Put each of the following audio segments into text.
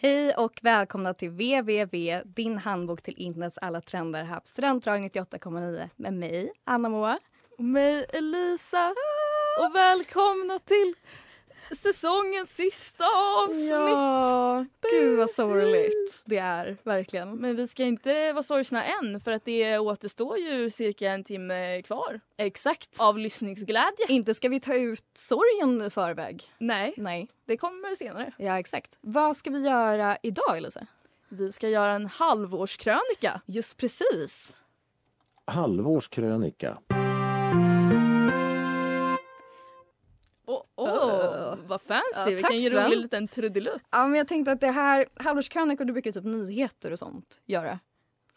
Hej och välkomna till www, din handbok till internets alla trender här på Studentradion 98,9 med mig, Anna Moa. Och mig Elisa. Och välkomna till säsongens sista avsnitt. Ja, gud vad sorgligt det är, verkligen. Men vi ska inte vara sorgsna än för att det återstår ju cirka en timme kvar Exakt. av lyssningsglädje. Inte ska vi ta ut sorgen i förväg. Nej, Nej. det kommer senare. Ja, exakt. Vad ska vi göra idag, Elise? Vi ska göra en halvårskrönika. Just precis. Halvårskrönika. Åh, Åh. vad fancy! Ja, tack, Vilken Sven. rolig liten trudelutt. Ja, men jag tänkte att det här, halvårskrönikor, du brukar ju typ nyheter och sånt göra.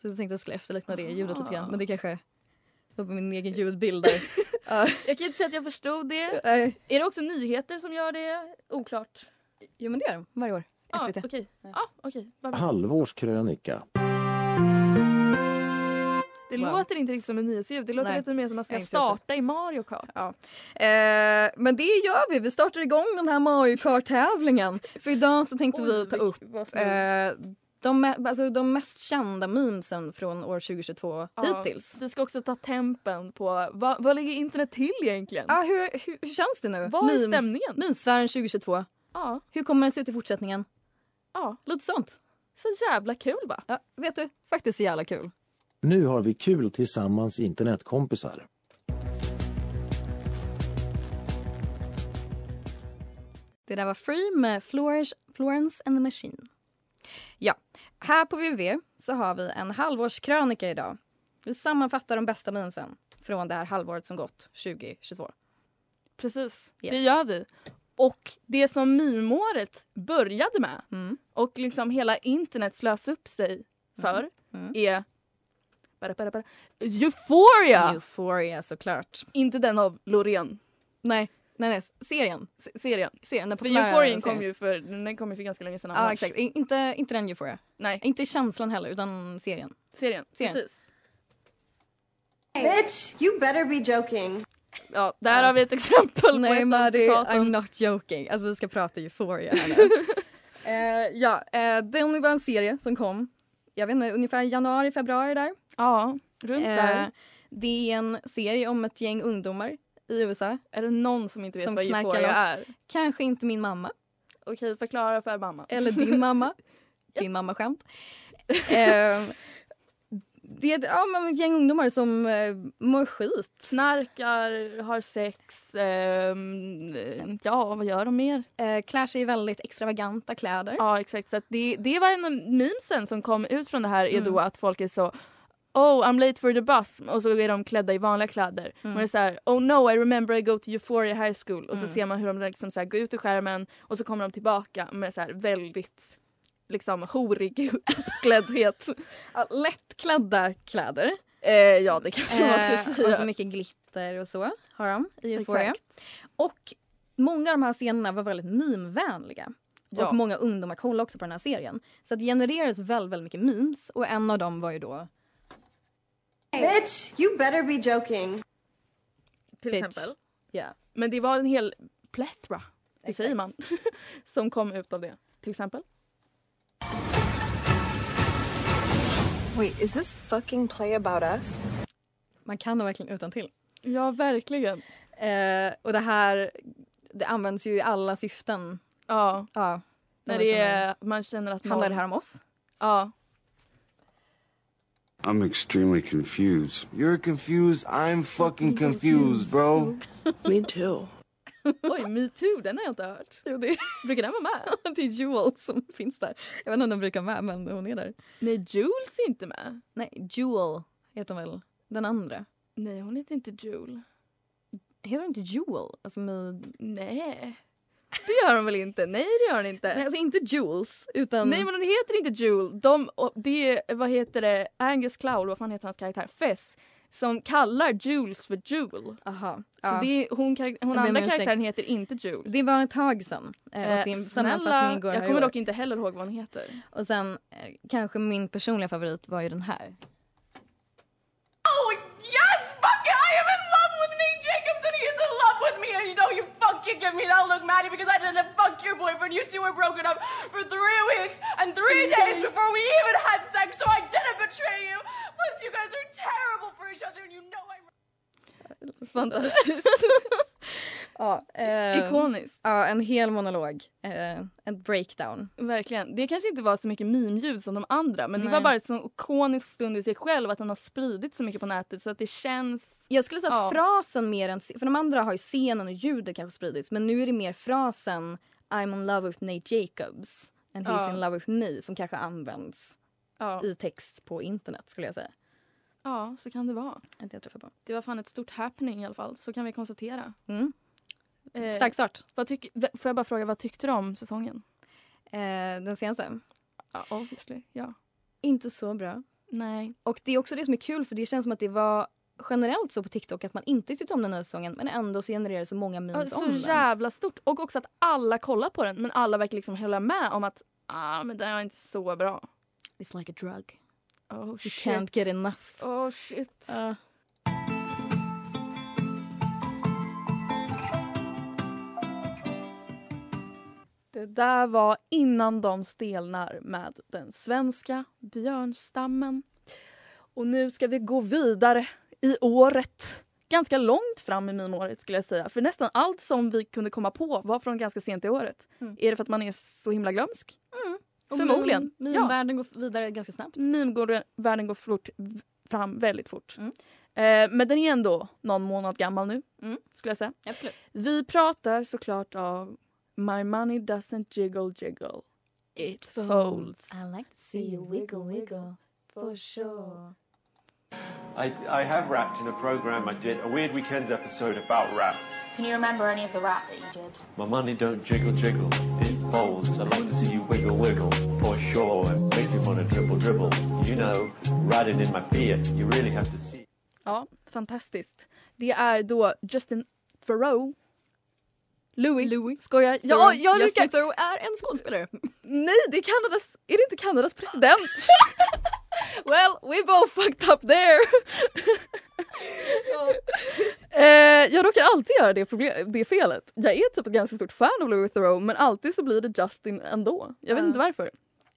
Så jag tänkte att jag skulle efterlikna det Ah. ljudet lite grann. Men det kanske var på min egen ljudbild där. Ja, Jag kan inte säga att jag förstod det. eh, Är det också nyheter som gör det? Oklart. jo men det gör de varje år. SVT. Ja, okej. Ja, okej. Vad bra. Halvårskrönika. Det Wow. låter inte riktigt som en nyhetsljud. Det låter Nej. lite mer som att man Nej, ska inte jag också. starta i Mario Kart. Ja. Eh, men det gör vi. Vi startar igång den här Mario Kart-tävlingen. För idag så tänkte vi ta vilk- upp vad för- eh, de, me- alltså, de mest kända memesen från år 2022 Ja, Mm. hittills. Vi ska också ta tempen på vad, vad ligger internet till egentligen? Ah, hur, hur, hur känns det nu? Vad är Meme- stämningen? Memesfären 2022. Ja, Hur kommer den se ut i fortsättningen? ja. Lite sånt. Så jävla kul va? Ja, vet du, faktiskt så jävla kul. Nu har vi kul tillsammans internetkompisar. Det där var Free med Florence, Florence and the Machine. Ja, här på VV så har vi en halvårskrönika idag. Vi sammanfattar de bästa memesen från det här halvåret som gått, 2022. Precis, Yes. det gör vi. Och det som mimåret började med Mm. och liksom hela internet slös upp sig för Mm. är bara, bara, bara, Euphoria! Euphoria såklart. Inte den av Loreen, Nej, nej, nej, serien. se- serien. serien den För populära Euphorien serien. kom ju för, den kom ju för ganska länge sedan. Ja, annars. exakt. I- Inte, inte den Euphoria. Nej, Inte känslan heller, utan serien. serien. Serien. Precis. Bitch, you better be joking. Ja, där har vi ett exempel på Nej ett av Maddie, I'm citaten. not joking. Alltså vi ska prata euphoria här nu. Eh, ja, eh, det var en serie som kom, jag vet inte, ungefär januari, februari där. Ja, runt Eh, där. det är en serie om ett gäng ungdomar i USA. Är det någon som inte vet som vad knarkar Euphoria loss. är? Kanske inte min mamma, Okej, förklara för mamma. eller din mamma. din mamma-skämt. Eh, det är ett ja, men ett gäng ungdomar som eh, mår skit. Knarkar, har sex, ehm, eh, ja vad gör de mer? Eh, klär sig i väldigt extravaganta kläder. Ja exakt, så att det, det var en av memesen som kom ut från det här är Mm. då att folk är så Oh I'm late for the bus och så är de klädda i vanliga kläder. Mm. Och det är så här, Oh no I remember I go to Euphoria High School och så Mm. ser man hur de liksom så här går ut ur skärmen och så kommer de tillbaka med så här väldigt liksom horig uppkläddhet. Ja, lättklädda kläder. eh, ja det kanske man Eh, ska Och så säga. mycket glitter och så har de i Euphoria. Och många av de här scenerna var väldigt meme-vänliga. Ja. Och många ungdomar kollade också på den här serien. Så det genererades väldigt, väldigt mycket memes och en av dem var ju då Bitch, you better be joking. Till bitch. exempel. Ja. Men det var en hel plethora, hur Exakt. säger man, som kom ut av det. Till exempel. Wait, is this fucking play about us? Man kan dem verkligen utan till. Ja, verkligen. Eh, och det här det används ju i alla syften. Ja, Ja, när man det känner- är, man känner att någon... Handlar det här om oss? Ja. I'm extremely confused. You're confused. I'm fucking confused, bro. Me too. Oj, metoo, den har jag inte hört. Jo, det, Brukar den vara med? det är Jewel som finns där. Jag vet inte om de brukar vara med, men hon är där. Nej, Jules är inte med. Nej, Jewel heter hon väl, den andra. Nej, hon heter inte Jule. Heter hon inte Jewel? Alltså med Nej. Det gör hon väl inte? Nej, det gör hon inte. Nej, Nej, alltså inte Jules, utan... men hon heter inte Jule. De, och det är, vad heter det, Angus Cloud, vad fan heter hans karaktär? Fess. Som kallar Jules för Jule. aha, Så ja. det är, hon, karak- hon ber om andra ursäkt. karaktären heter inte Jule. Det var ett tag sedan. Eh, och Eh, din snälla, sammanfattning går jag här i kommer år. dock inte heller ihåg vad hon heter. Och sen, eh, kanske min personliga favorit var ju den här. Oh, yes, Bucket! I am in love with Nate Jacobs and he's in love with me. And you know, you fucking give me that look, Maddie, because I didn't fuck your boyfriend. You two were broken up for three weeks and three days before we even had sex, so I didn't betray you. Plus, you guys are terrible for each other and you know I'm. Fantastiskt. Ja, eh, Ikoniskt. ja, en hel monolog. Eh, en breakdown. Verkligen. Det kanske inte var så mycket mimljud som de andra men det Nej. var bara en sån ikonisk stund i sig själv att den har spridit så mycket på nätet så att det känns... Jag skulle säga att Ja. frasen mer än... För de andra har ju scenen och ljudet kanske spridits men nu är det mer frasen I'm in love with Nate Jacobs and he's Ja. in love with me som kanske används Ja. i text på internet skulle jag säga. ja, så kan det vara. Inte jag träffar på. Det var fan ett stort happening i alla fall, så kan vi konstatera. Mm. Eh, Stark start. Vad tyck, v- får jag bara fråga, vad tyckte du om säsongen? Eh, den senaste. Ja, obviously. Ja. Inte så bra. Nej. Och det är också det som är kul för det känns som att det var generellt så på TikTok att man inte tyckte om den nya säsongen men ändå så genererar det så många memes så om den. jävla stort. Och också att alla kollar på den men alla verkar liksom hålla med om att ah, men den var inte så bra. It's like a drug. Oh You shit. can't get enough. Oh shit. Ja. Det där var Innan de stelnar med den svenska björnstammen. Och nu ska vi gå vidare i året. Ganska långt fram i minåret skulle jag säga. För nästan allt som vi kunde komma på var från ganska sent i året. Mm. Är det för att man är så himla glömsk? Och Förmodligen. Meme, Ja. Mm. världen går vidare ganska snabbt. Meme-världen går fort, v- fram väldigt fort. Mm. Eh, men den är ändå någon månad gammal nu, Mm. skulle jag säga. Absolut. Vi pratar såklart av My money doesn't jiggle jiggle. It folds. I like to see you wiggle wiggle. For sure. I, I have rapped in a program I did, a Weird Weekends episode about rap. Can you remember any of the rap that you did? My money don't jiggle jiggle, it folds. I like to see you wiggle wiggle, for sure. It makes me wanna dribble dribble. You know, riding in my beard, you really have to see. Ja, fantastiskt. Det är då Justin Theroux. Louis. Louis. Skojar. Ja, Thoreau. jag Justin lyckas. Thoreau är en skådespelare. Nej, det är Kanadas... Är det inte Kanadas president? well, we both fucked up there. eh, jag råkar alltid göra det, problem, det felet. Jag är typ ett ganska stort fan av Louis Theroux men alltid så blir det Justin ändå. Jag vet Ja. inte varför.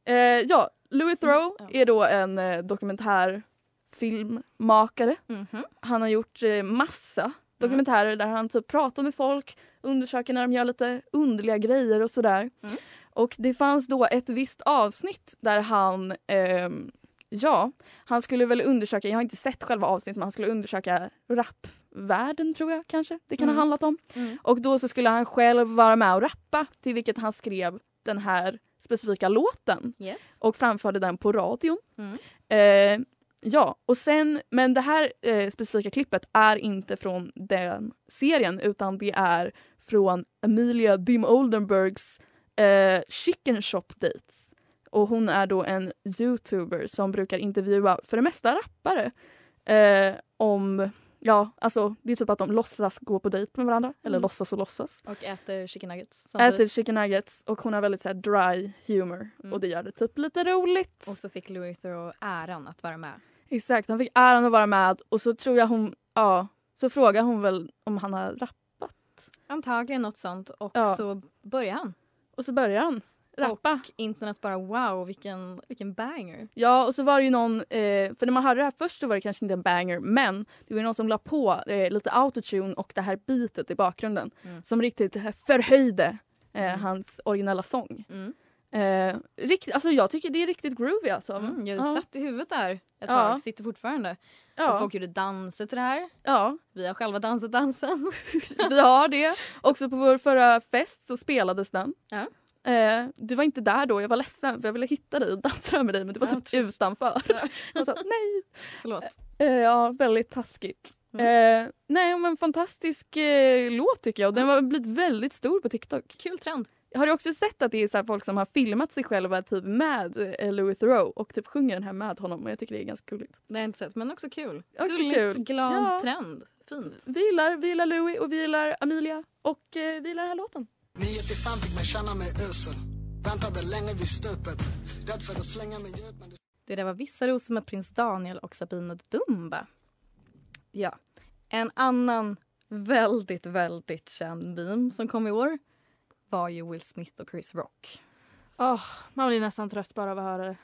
Eh, ja, Louis Mm, Theroux är då en eh, dokumentärfilmmakare. Mhm. Han har gjort eh, massa dokumentärer där han typ pratar med folk, undersöker när de gör lite underliga grejer och sådär. Mm. Och det fanns då ett visst avsnitt där han, ehm, ja, han skulle väl undersöka, jag har inte sett själva avsnittet, men han skulle undersöka rapvärlden tror jag kanske det kan Mm. ha handlat om. Mm. Och då så skulle han själv vara med och rappa till vilket han skrev den här specifika låten Yes. och framförde den på radion. Mm. Eh, ja, och sen, men det här eh, specifika klippet är inte från den serien utan det är från Amelia Dim Oldenburgs eh, Chicken Shop Dates. Och hon är då en youtuber som brukar intervjua för det mesta rappare eh, om, ja alltså det är typ att de låtsas gå på dejt med varandra, eller Mm. låtsas och låtsas. Och äter chicken nuggets Äter samtidigt. chicken nuggets och hon har väldigt så här, dry humor Mm. och det gör det typ lite roligt. Och så fick Louis Theroux äran att vara med. Exakt, han fick äran att vara med och så tror jag hon, ja, så frågar hon väl om han har rapp Antagligen något sånt och Ja. så börjar han. och så börjar han rappa. Och internet bara wow vilken, vilken banger. Ja, och så var det ju någon, eh, för när man hörde det här först så var det kanske inte en banger, men det var ju någon som la på eh, lite autotune och det här beatet i bakgrunden Mm. som riktigt förhöjde eh, Mm. hans originella sång. Mm. Eh, rikt, alltså jag tycker det är riktigt groovy alltså. Mm, jag ja, satt i huvudet där ett Ja. tag, sitter fortfarande. Och ja, folk gjorde danser till det här. ja. Vi har själva dansat dansen. Vi har det. Också på vår förra fest så spelades den. Ja. Eh, du var inte där då, jag var ledsen för jag ville hitta dig och dansa med dig men du var Ja, typ trist. utanför. Jag sa nej. Förlåt. Eh, ja, väldigt taskigt. Eh, nej men fantastisk eh, låt tycker jag. Den har blivit väldigt stor på TikTok. Kul trend. Har du också sett att det är så här folk som har filmat sig själva typ med eh, Louis Theroux och typ sjunger den här med honom och jag tycker det är ganska gulligt. Det har jag inte sett, men också kul. Också Gulligt, kul. glad Ja. trend. Fint. Vi gillar, vi gillar Louis och vi gillar Amelia och eh, vi gillar den här låten. Det där var Vissa rosor med prins Daniel och Sabina Dumba. Ja. En annan väldigt, väldigt känd meme som kom i år var ju Will Smith och Chris Rock. Åh, man blir nästan trött bara av att höra det.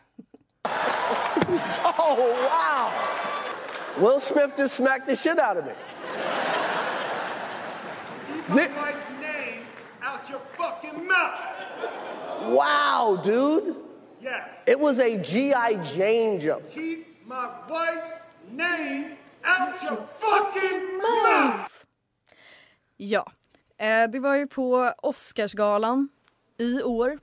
Will Smith just smacked the shit out of me. Wow, dude. Yes. It was a G.I. Jane jump. Keep my wife's name out your fucking mouth! Ja. Eh, det var ju på Oscarsgalan i år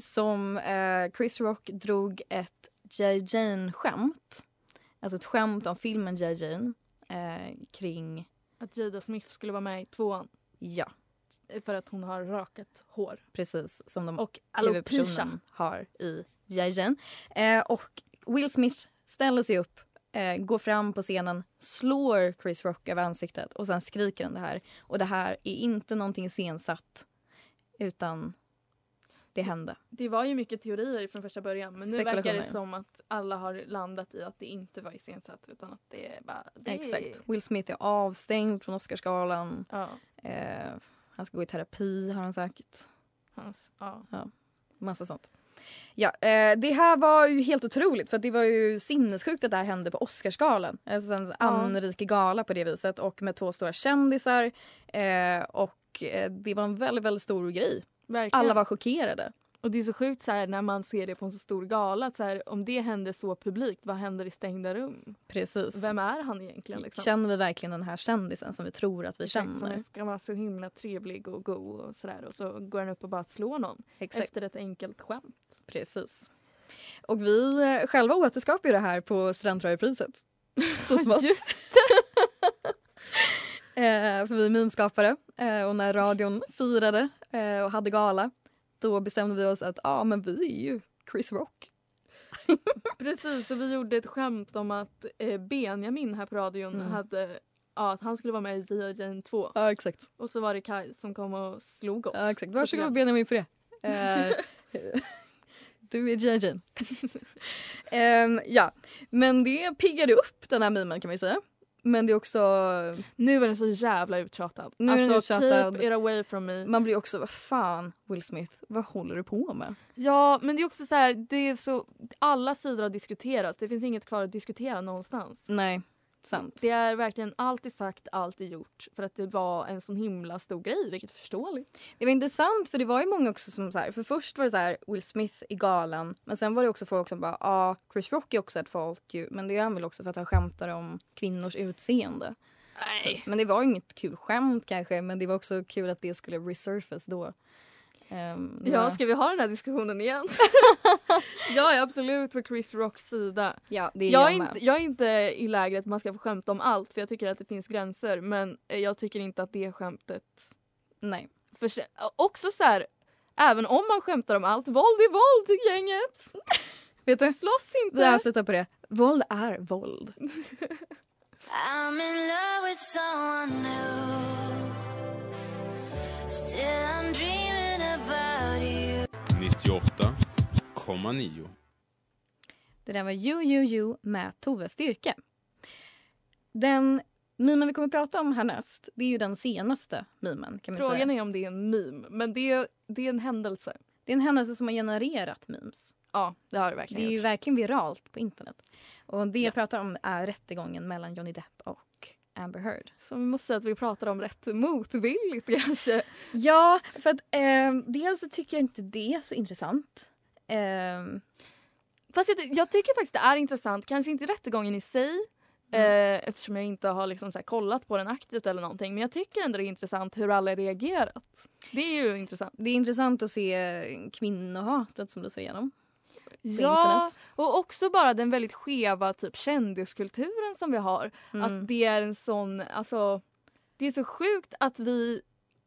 som eh, Chris Rock drog ett J. Jane-skämt. Alltså ett skämt om filmen J. Jane eh, kring... Att Jada Smith skulle vara med i tvåan Ja, för att hon har rakat hår. precis. Som de Och alopecia. huvudpersonen har i Jajen. Eh, och Will Smith ställer sig upp, eh, går fram på scenen, slår Chris Rock över ansiktet och sen skriker han det här. Och det här är inte någonting iscensatt utan det hände. Det var ju mycket teorier från första början men nu verkar det Spekulationer. som att alla har landat i att det inte var iscensatt utan att det är bara... Det Exakt. Will Smith är avstängd från Oscarsgalan. Ja, Eh, han ska gå i terapi har han sagt. hans, ja. Massa sånt. Ja, eh, det här var ju helt otroligt för att det var ju sinnessjukt att det här hände på Oscarsgalan. Alltså en anrik gala på det viset och med två stora kändisar. Eh, och eh, det var en väldigt, väldigt stor grej. Verkligen. Alla var chockerade. Och det är så sjukt så här, när man ser det på en så stor gala. Att så här, om det händer så publikt, vad händer i stängda rum? Precis. Vem är han egentligen? Liksom? Känner vi verkligen den här kändisen som vi tror att vi Exakt, känner? Som ska vara så himla trevlig och god och sådär. Och så går han upp och bara slår någon Exakt. efter ett enkelt skämt. Precis. Och vi eh, själva återskapar ju det här på Studentradioprisets. Så smått. Just eh, för vi är meme-skapare eh, och när radion firade eh, och hade gala då bestämde vi oss att ah, men vi är ju Chris Rock. Precis, och vi gjorde ett skämt om att eh, Benjamin här på radion Mm. hade Ja, att han skulle vara med i Dia Jane 2. Ja, exakt. Och så var det Kai som kom och slog oss. Ja, exakt. Lite Varsågod grann. Benjamin för det. Eh, du är JJ. um, ja, men det piggade upp den här memen kan man ju säga. Men det är också Nu är den så jävla uttjatad. Nu är den alltså, uttjatad. keep it away from me. Man blir också, vad fan Will Smith, vad håller du på med? Ja, men det är också så här, det är så, alla sidor har diskuterats. Det finns inget kvar att diskutera någonstans. Nej, sant. Det är verkligen allt är sagt, allt är gjort. För att det var en sån himla stor grej, vilket är förståeligt. Det var intressant för det var ju många också som så här, för först var det så här Will Smith i galan men sen var det också folk som bara, ja ah, Chris Rock är också ett folk ju men det är han väl också för att han skämtar om kvinnors utseende. Typ. Nej. Men det var inget kul skämt kanske men det var också kul att det skulle resurface då. Ehm, Ja, ska vi ha den här diskussionen igen? jag är absolut på Chris Rocks sida. ja, det är Jag är, med. inte, jag är inte i lägret att man ska få skämta om allt för jag tycker att det finns gränser. Men eh, jag tycker inte att det skämtet... Nej. För, också så här, även om man skämtar om allt, våld är våld gänget! Vet du, Slåss inte! vi avslutar på det. Våld är våld. I'm in love with someone new. Still, I'm dreaming about you. 98,9. Det där var You You You med Tove Styrke. Den mimen vi kommer att prata om härnäst, det är ju den senaste mimen. Kan man Frågan säga. är om det är en meme, men det är, det är en händelse. Det är en händelse som har genererat memes. Ja, det har det Det verkligen är ju gjort. verkligen viralt på internet. Och det jag pratar om är rättegången mellan Johnny Depp och Amber Heard. Så vi måste säga att vi pratar om rätt motvilligt kanske. Ja, för att eh, dels så tycker jag inte det är så intressant. Ehm, Fast jag, ty- jag tycker faktiskt det är intressant, kanske inte rättegången i sig eh, eftersom jag inte har liksom så här kollat på den aktivt eller någonting. Men jag tycker ändå det är intressant hur alla har reagerat. Det är ju intressant. det är intressant att se kvinnohatet som du ser igenom. på ja, internet. och också bara den väldigt skeva typ kändiskulturen som vi har. Mm. Att det är en sån, alltså det är så sjukt att vi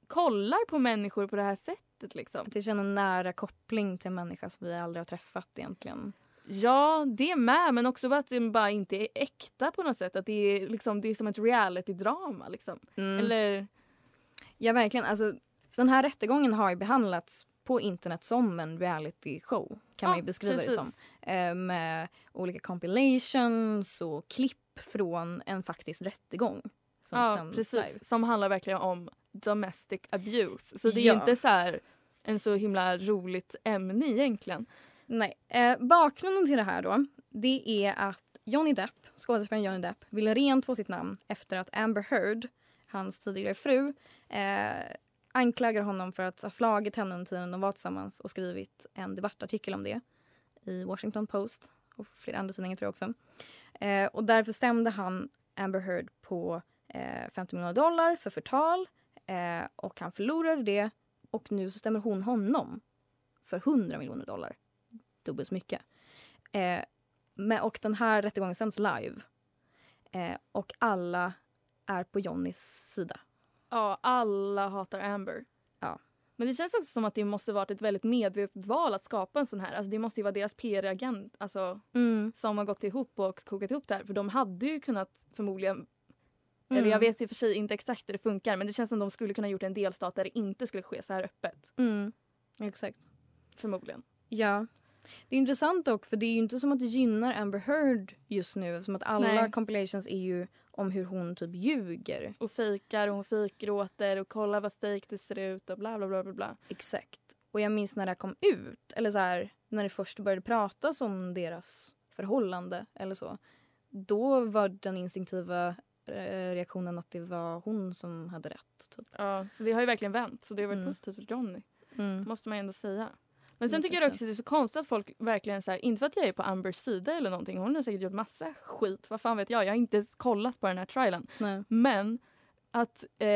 kollar på människor på det här sättet liksom. Att vi känner en nära koppling till en människa som vi aldrig har träffat egentligen. Ja, det med, men också bara att det bara inte är äkta på något sätt. Att det är liksom, det är som ett reality-drama liksom. Mm. Eller, Ja, verkligen. Alltså, den här rättegången har ju behandlats på internet som en reality-show. Kan man ju Ja, beskriva precis. det som. Eh, Med olika compilations och klipp från en faktisk rättegång. Som ja, sänds precis. live. Som handlar verkligen om domestic abuse. Så det är Ja. ju inte så här en så himla roligt ämne egentligen. Nej. Eh, bakgrunden till det här då, det är att Johnny Depp, skådespelaren Johnny Depp ville rentvå sitt namn efter att Amber Heard, hans tidigare fru eh, anklagar honom för att ha slagit henne under tiden de var tillsammans och skrivit en debattartikel om det i Washington Post och flera andra tidningar tror jag också. Eh, och därför stämde han Amber Heard på eh, 50 miljoner dollar för förtal eh, och han förlorade det och nu så stämmer hon honom för 100 miljoner dollar dubbelt så mycket. Eh, men, och den här rättegången sänds live. Eh, och alla är på Johnnys sida. Ja, alla hatar Amber. Ja. Men det känns också som att det måste varit ett väldigt medvetet val att skapa en sån här. Alltså det måste ju vara deras PR-agent alltså, Mm. som har gått ihop och kokat ihop det här. För de hade ju kunnat förmodligen, Mm. eller jag vet i och för sig inte exakt hur det funkar men det känns som de skulle kunna gjort en delstat där det inte skulle ske så här öppet. Mm. Exakt. Förmodligen. Ja. Det är intressant dock, för det är ju inte som att det gynnar Amber Heard just nu eftersom att alla Nej. compilations är ju om hur hon typ ljuger. Och fikar och hon fikgråter och kolla vad fake det ser ut och bla bla bla bla bla. Exakt. Och jag minns när det här kom ut, eller så här, när det först började pratas om deras förhållande eller så. Då var den instinktiva eh, reaktionen att det var hon som hade rätt. Typ. Ja, så det har ju verkligen vänt så det har varit Mm. positivt för Johnny. Mm. måste man ju ändå säga. Men sen Mm, tycker jag precis. också att det är så konstigt att folk verkligen så här, inte för att jag är på Ambers sida eller någonting, hon har säkert gjort massa skit, vad fan vet jag, jag har inte ens kollat på den här trialen. Nej. Men att, eh,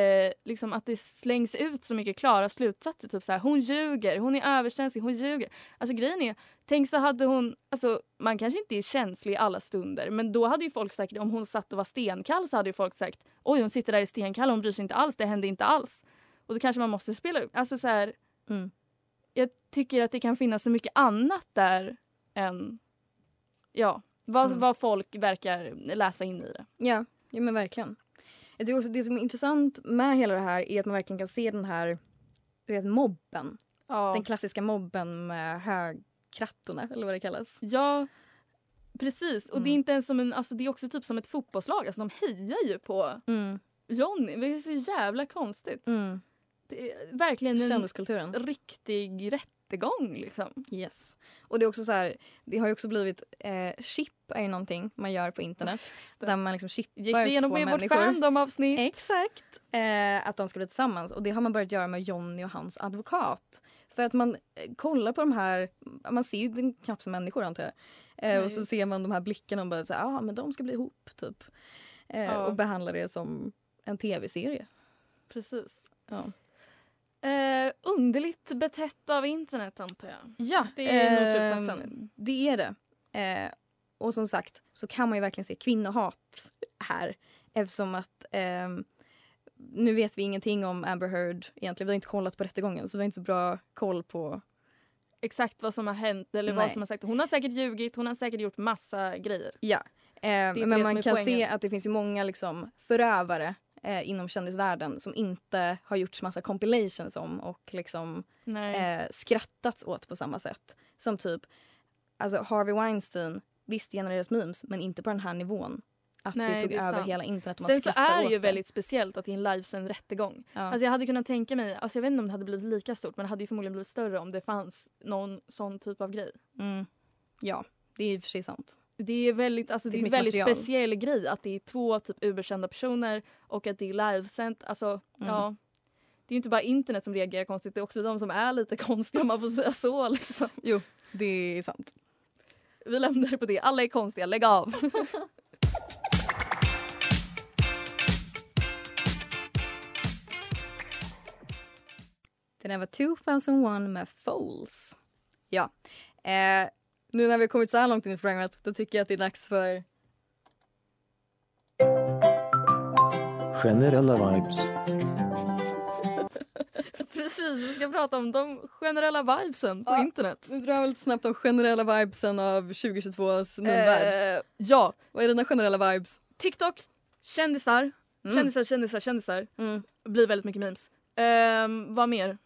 liksom att det slängs ut så mycket klara slutsatser, typ så här, hon ljuger, hon är överkänslig, hon ljuger. Alltså grejen är, tänk så hade hon, alltså man kanske inte är känslig i alla stunder, men då hade ju folk säkert, om hon satt och var stenkall så hade ju folk sagt, oj hon sitter där i stenkall, hon bryr sig inte alls, det hände inte alls. Och då kanske man måste spela upp, alltså så här, Mm. jag tycker att det kan finnas så mycket annat där än ja, vad, Mm. vad folk verkar läsa in i det. Ja, ja men verkligen. Jag tycker också det som är intressant med hela det här är att man verkligen kan se den här du vet, mobben. Ja, Den klassiska mobben med högkrattorna eller vad det kallas. ja precis. Och det är Mm. inte ens som en, alltså det är också typ som ett fotbollslag. Alltså de hejar ju på Mm. Johnny. Det är så jävla konstigt. Mm. Det är verkligen en Kändiskulturen. riktig rättegång liksom. Yes. Och det är också så här, det har ju också blivit, eh, chip är ju någonting man gör på internet. Där man liksom chippar Gick vi igenom två med vårt människor. fandom-avsnitt? Exakt. Eh, att de ska bli tillsammans. Och det har man börjat göra med Johnny och hans advokat. För att man eh, kollar på de här, man ser ju den knappt som människor antar jag. Eh, och så ser man de här blickarna och bara så här, ah, men de ska bli ihop typ. Eh, Ja. Och behandlar det som en tv-serie. Precis. Ja. Eh, underligt betett av internet antar jag. Ja, Det är nog ehm, slutsatsen. Det är det. Eh, och som sagt så kan man ju verkligen se kvinnohat här. Eftersom att ehm, nu vet vi ingenting om Amber Heard egentligen. Vi har inte kollat på rättegången så vi har inte så bra koll på... exakt vad som har hänt eller Nej. vad som har sagt. Hon har säkert ljugit, hon har säkert gjort massa grejer. Ja. Eh, inte men det som man är kan se poängen. att det finns ju många liksom, förövare eh, inom kändisvärlden som inte har gjorts massa compilations om och liksom Nej. eh, skrattats åt på samma sätt. Som typ alltså Harvey Weinstein, visst genererades memes men inte på den här nivån. Att det Nej, tog det är över sant. hela internet och man Sen så skrattade är det åt ju väldigt speciellt att det är en livesänd rättegång. Ja. Alltså jag hade kunnat tänka mig, alltså jag vet inte om det hade blivit lika stort men det hade ju förmodligen blivit större om det fanns någon sån typ av grej. mm. ja, det är ju i och för sig sant. Det är väldigt, alltså Det det är finns en väldigt mycket material. speciell grej att det är två typ överkända personer och att det är livesänt. Alltså ja. Det är ju inte bara internet som reagerar konstigt, det är också de som är lite konstiga om man får säga så. Liksom. Jo, det är sant. Vi lämnar det på det. Alla är konstiga, lägg av. Det där var 2001 med Foles. Ja. Eh, nu när vi har kommit så här långt in i programmet, då tycker jag att det är dags för... Generella vibes. Precis, vi ska prata om de generella vibesen på internet. Nu drar vi lite snabbt de generella vibesen av 2022s minvärld. Eh, ja, Vad är dina generella vibes? TikTok, kändisar, Mm. kändisar, kändisar, kändisar. Mm. Blir väldigt mycket memes. Eh, vad mer?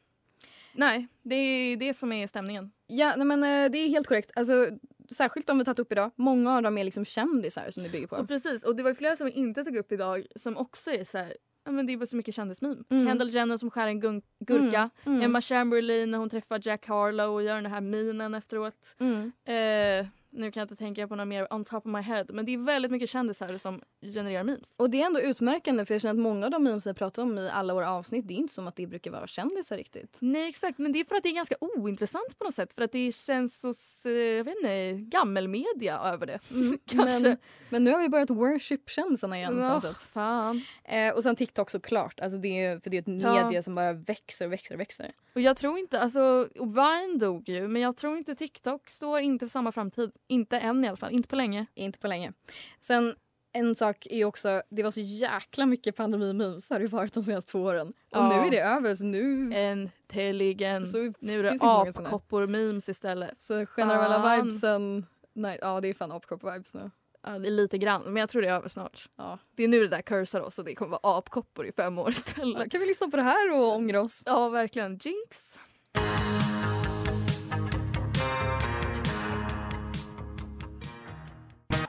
Nej, det är det som är stämningen. Ja, nej, men eh, det är helt korrekt. Alltså, särskilt de vi tagit upp idag. Många av dem är liksom kändisar som det bygger på. Och precis, och det var ju flera som vi inte tog upp idag som också är så här, ja men det är bara så mycket kändismeme. Mm. Kendall Jenner som skär en gun- gurka. Mm. Emma Chamberlain när hon träffar Jack Harlow och gör den här minen efteråt. Mm. Eh, nu kan jag inte tänka på något mer on top of my head men det är väldigt mycket kändisar som genererar memes. Och det är ändå utmärkande för jag känner att många av de memes jag pratar om i alla våra avsnitt, det är inte som att det brukar vara kändisar riktigt. Nej exakt men det är för att det är ganska ointressant på något sätt för att det känns så, s- eh, jag vet inte, gammelmedia över det. Kanske. Mm, Men, men nu har vi börjat worship-känslan igen. på något Åh, sätt. fan. Eh, och sen TikTok såklart. Alltså det är, för det är ett Ja. media som bara växer och växer och växer. Och jag tror inte, alltså och Vine dog ju men jag tror inte TikTok står inte för samma framtid. Inte än i alla fall, inte på länge. Inte på länge. Sen en sak är ju också, det var så jäkla mycket pandemimemes har det ju varit de senaste två åren. Och Ja. nu är det över så nu Äntligen. så, Nu är det Mm. Alltså, finns inte många såna. apkoppor-memes istället. så generella Fan. vibesen, nej ja det är fan apkopp-vibes nu. Ja, det är lite grann, men jag tror det är över snart. Ja. Det är nu det där cursar oss och det kommer vara apkoppor i fem år Ja, istället. Kan vi lyssna på det här och ångra oss? Ja, verkligen. Jinx.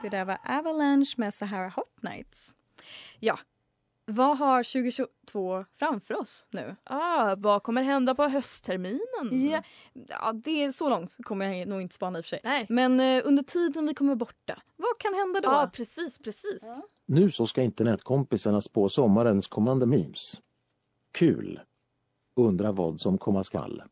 Det där var Avalanche med Sahara Hot Nights. Ja, vad har 2022 framför oss nu? Ah, vad kommer hända på höstterminen? Ja, ja, det är så långt kommer jag nog inte spana i och för sig. Nej. Men eh, under tiden vi kommer borta, vad kan hända då? Ja, ah, precis, precis. Nu så ska internetkompisarna spå sommarens kommande memes. Kul! Undrar vad som komma skall.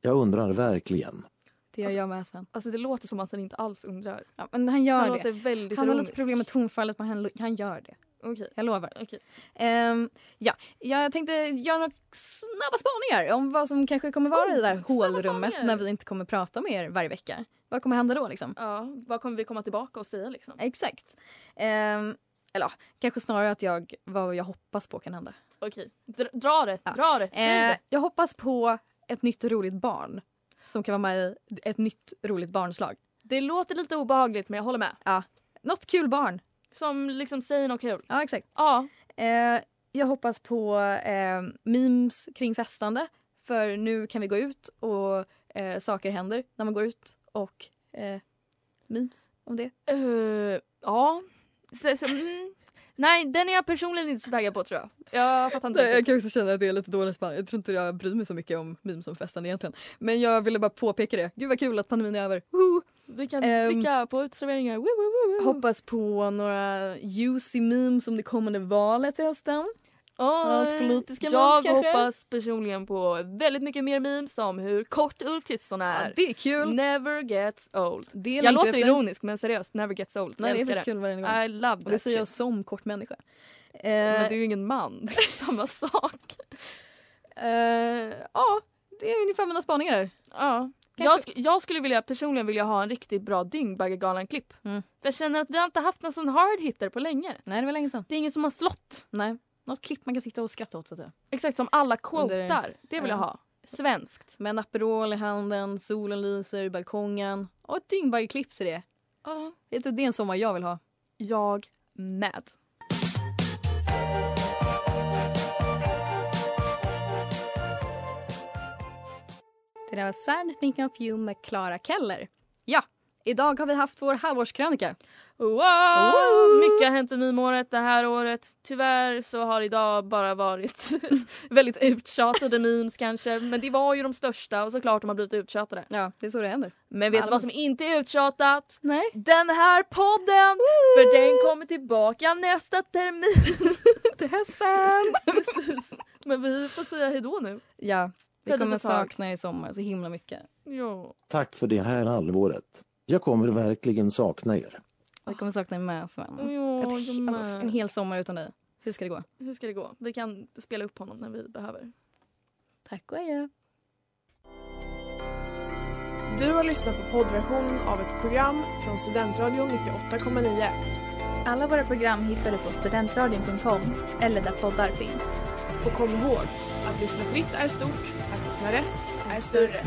Jag undrar verkligen. det gör jag med Sven. Alltså det låter som att han inte alls undrar. Ja, men han gör han det. låter väldigt Han har lite ironisk. problem med tonfallet men han, lo- han gör det. Okej. Jag lovar. Okej. Ehm, ja, jag tänkte göra några snabba spaningar om vad som kanske kommer vara i det där Oh, hålrummet snabba när spaningar. vi inte kommer prata med er varje vecka. Vad kommer hända då liksom? Ja, vad kommer vi komma tillbaka och säga Eh. liksom? Exakt. Ehm, eller ja, kanske snarare att jag, vad jag hoppas på kan hända. Okej, Dra, dra det, Ja. dra det, säg Eh, det. jag hoppas på ett nytt roligt barn som kan vara med i ett nytt roligt barnslag. Det låter lite obehagligt men jag håller med. Något kul barn. Som liksom säger något kul. Ja, exakt. Ja, Eh, jag hoppas på eh, memes kring festande. För nu kan vi gå ut och eh, saker händer när man går ut. Och eh, memes om det. Eh, ja. Så, så, mm. Nej, den är jag personligen inte så taggad på tror jag. Jag fattar inte riktigt. kan också känna att det är lite dåligt spann. Jag tror inte jag bryr mig så mycket om memes om festande egentligen. Men jag ville bara påpeka det. Gud vad kul att pandemin är över. Woho! Vi kan Ehm, trycka på utserveringar. Woo, woo, woo, woo. Hoppas på några juicy memes om det kommande valet i hösten. Allt allt politiska eh, Jag memes kanske? hoppas personligen på väldigt mycket mer memes om hur kort Ulf Kristersson är. det är kul. Never gets old. Det Jag, längtar låter efter. ironisk men seriöst, never gets old. Nej, det jag är faktiskt älskar kul varje gång. det. I love Och det that säger jag shit. som kort människa. Eh, Men du är ju ingen man, det är samma sak. eh, ja, det är ungefär mina spaningar. Ja. Jag, Kanske- sk- jag skulle vilja, personligen vilja ha en riktigt bra Dyngbaggegalan-klipp. Mm. För jag känner att vi har inte haft någon sån hard hitter på länge. Nej, det var länge sedan. Det är ingen som har slått. Nej. Något klipp man kan sitta och skratta åt. Så att säga. Exakt som alla quotar. Det vill ja. jag ha. Svenskt. Med en Aperol i handen, solen lyser i balkongen och ett dyngbagge-klipp till det. Vet du, Det är en sommar jag vill ha. Jag med. Det där var Sad Thinking of You med Clara Keller. Ja, idag har vi haft vår halvårskrönika. Wow! Mycket har hänt i mimåret det här året. Tyvärr så har idag bara varit väldigt uttjatade memes kanske. Men det var ju de största och såklart de har blivit uttjatade. Ja, det är så det händer. Men vet du vad som inte är uttjatat? Nej. Den här podden! För den kommer tillbaka nästa termin. Till hösten! Precis. Men vi får säga hejdå nu. ja, vi För kommer lite tag. sakna er i sommar så himla mycket. Ja. Tack för det här halvåret. Jag kommer verkligen sakna er. Jag kommer sakna dig med, Sven. Ja, Ett, jag he- med. alltså, en hel sommar utan dig. Hur ska det gå? Hur ska det gå? Vi kan spela upp honom när vi behöver. Tack och adjö. Du har lyssnat på poddversionen av ett program från Studentradion 98,9. Alla våra program hittar du på studentradion.com eller där poddar finns. Och kom ihåg, att lyssna fritt är stort, att lyssna rätt är större.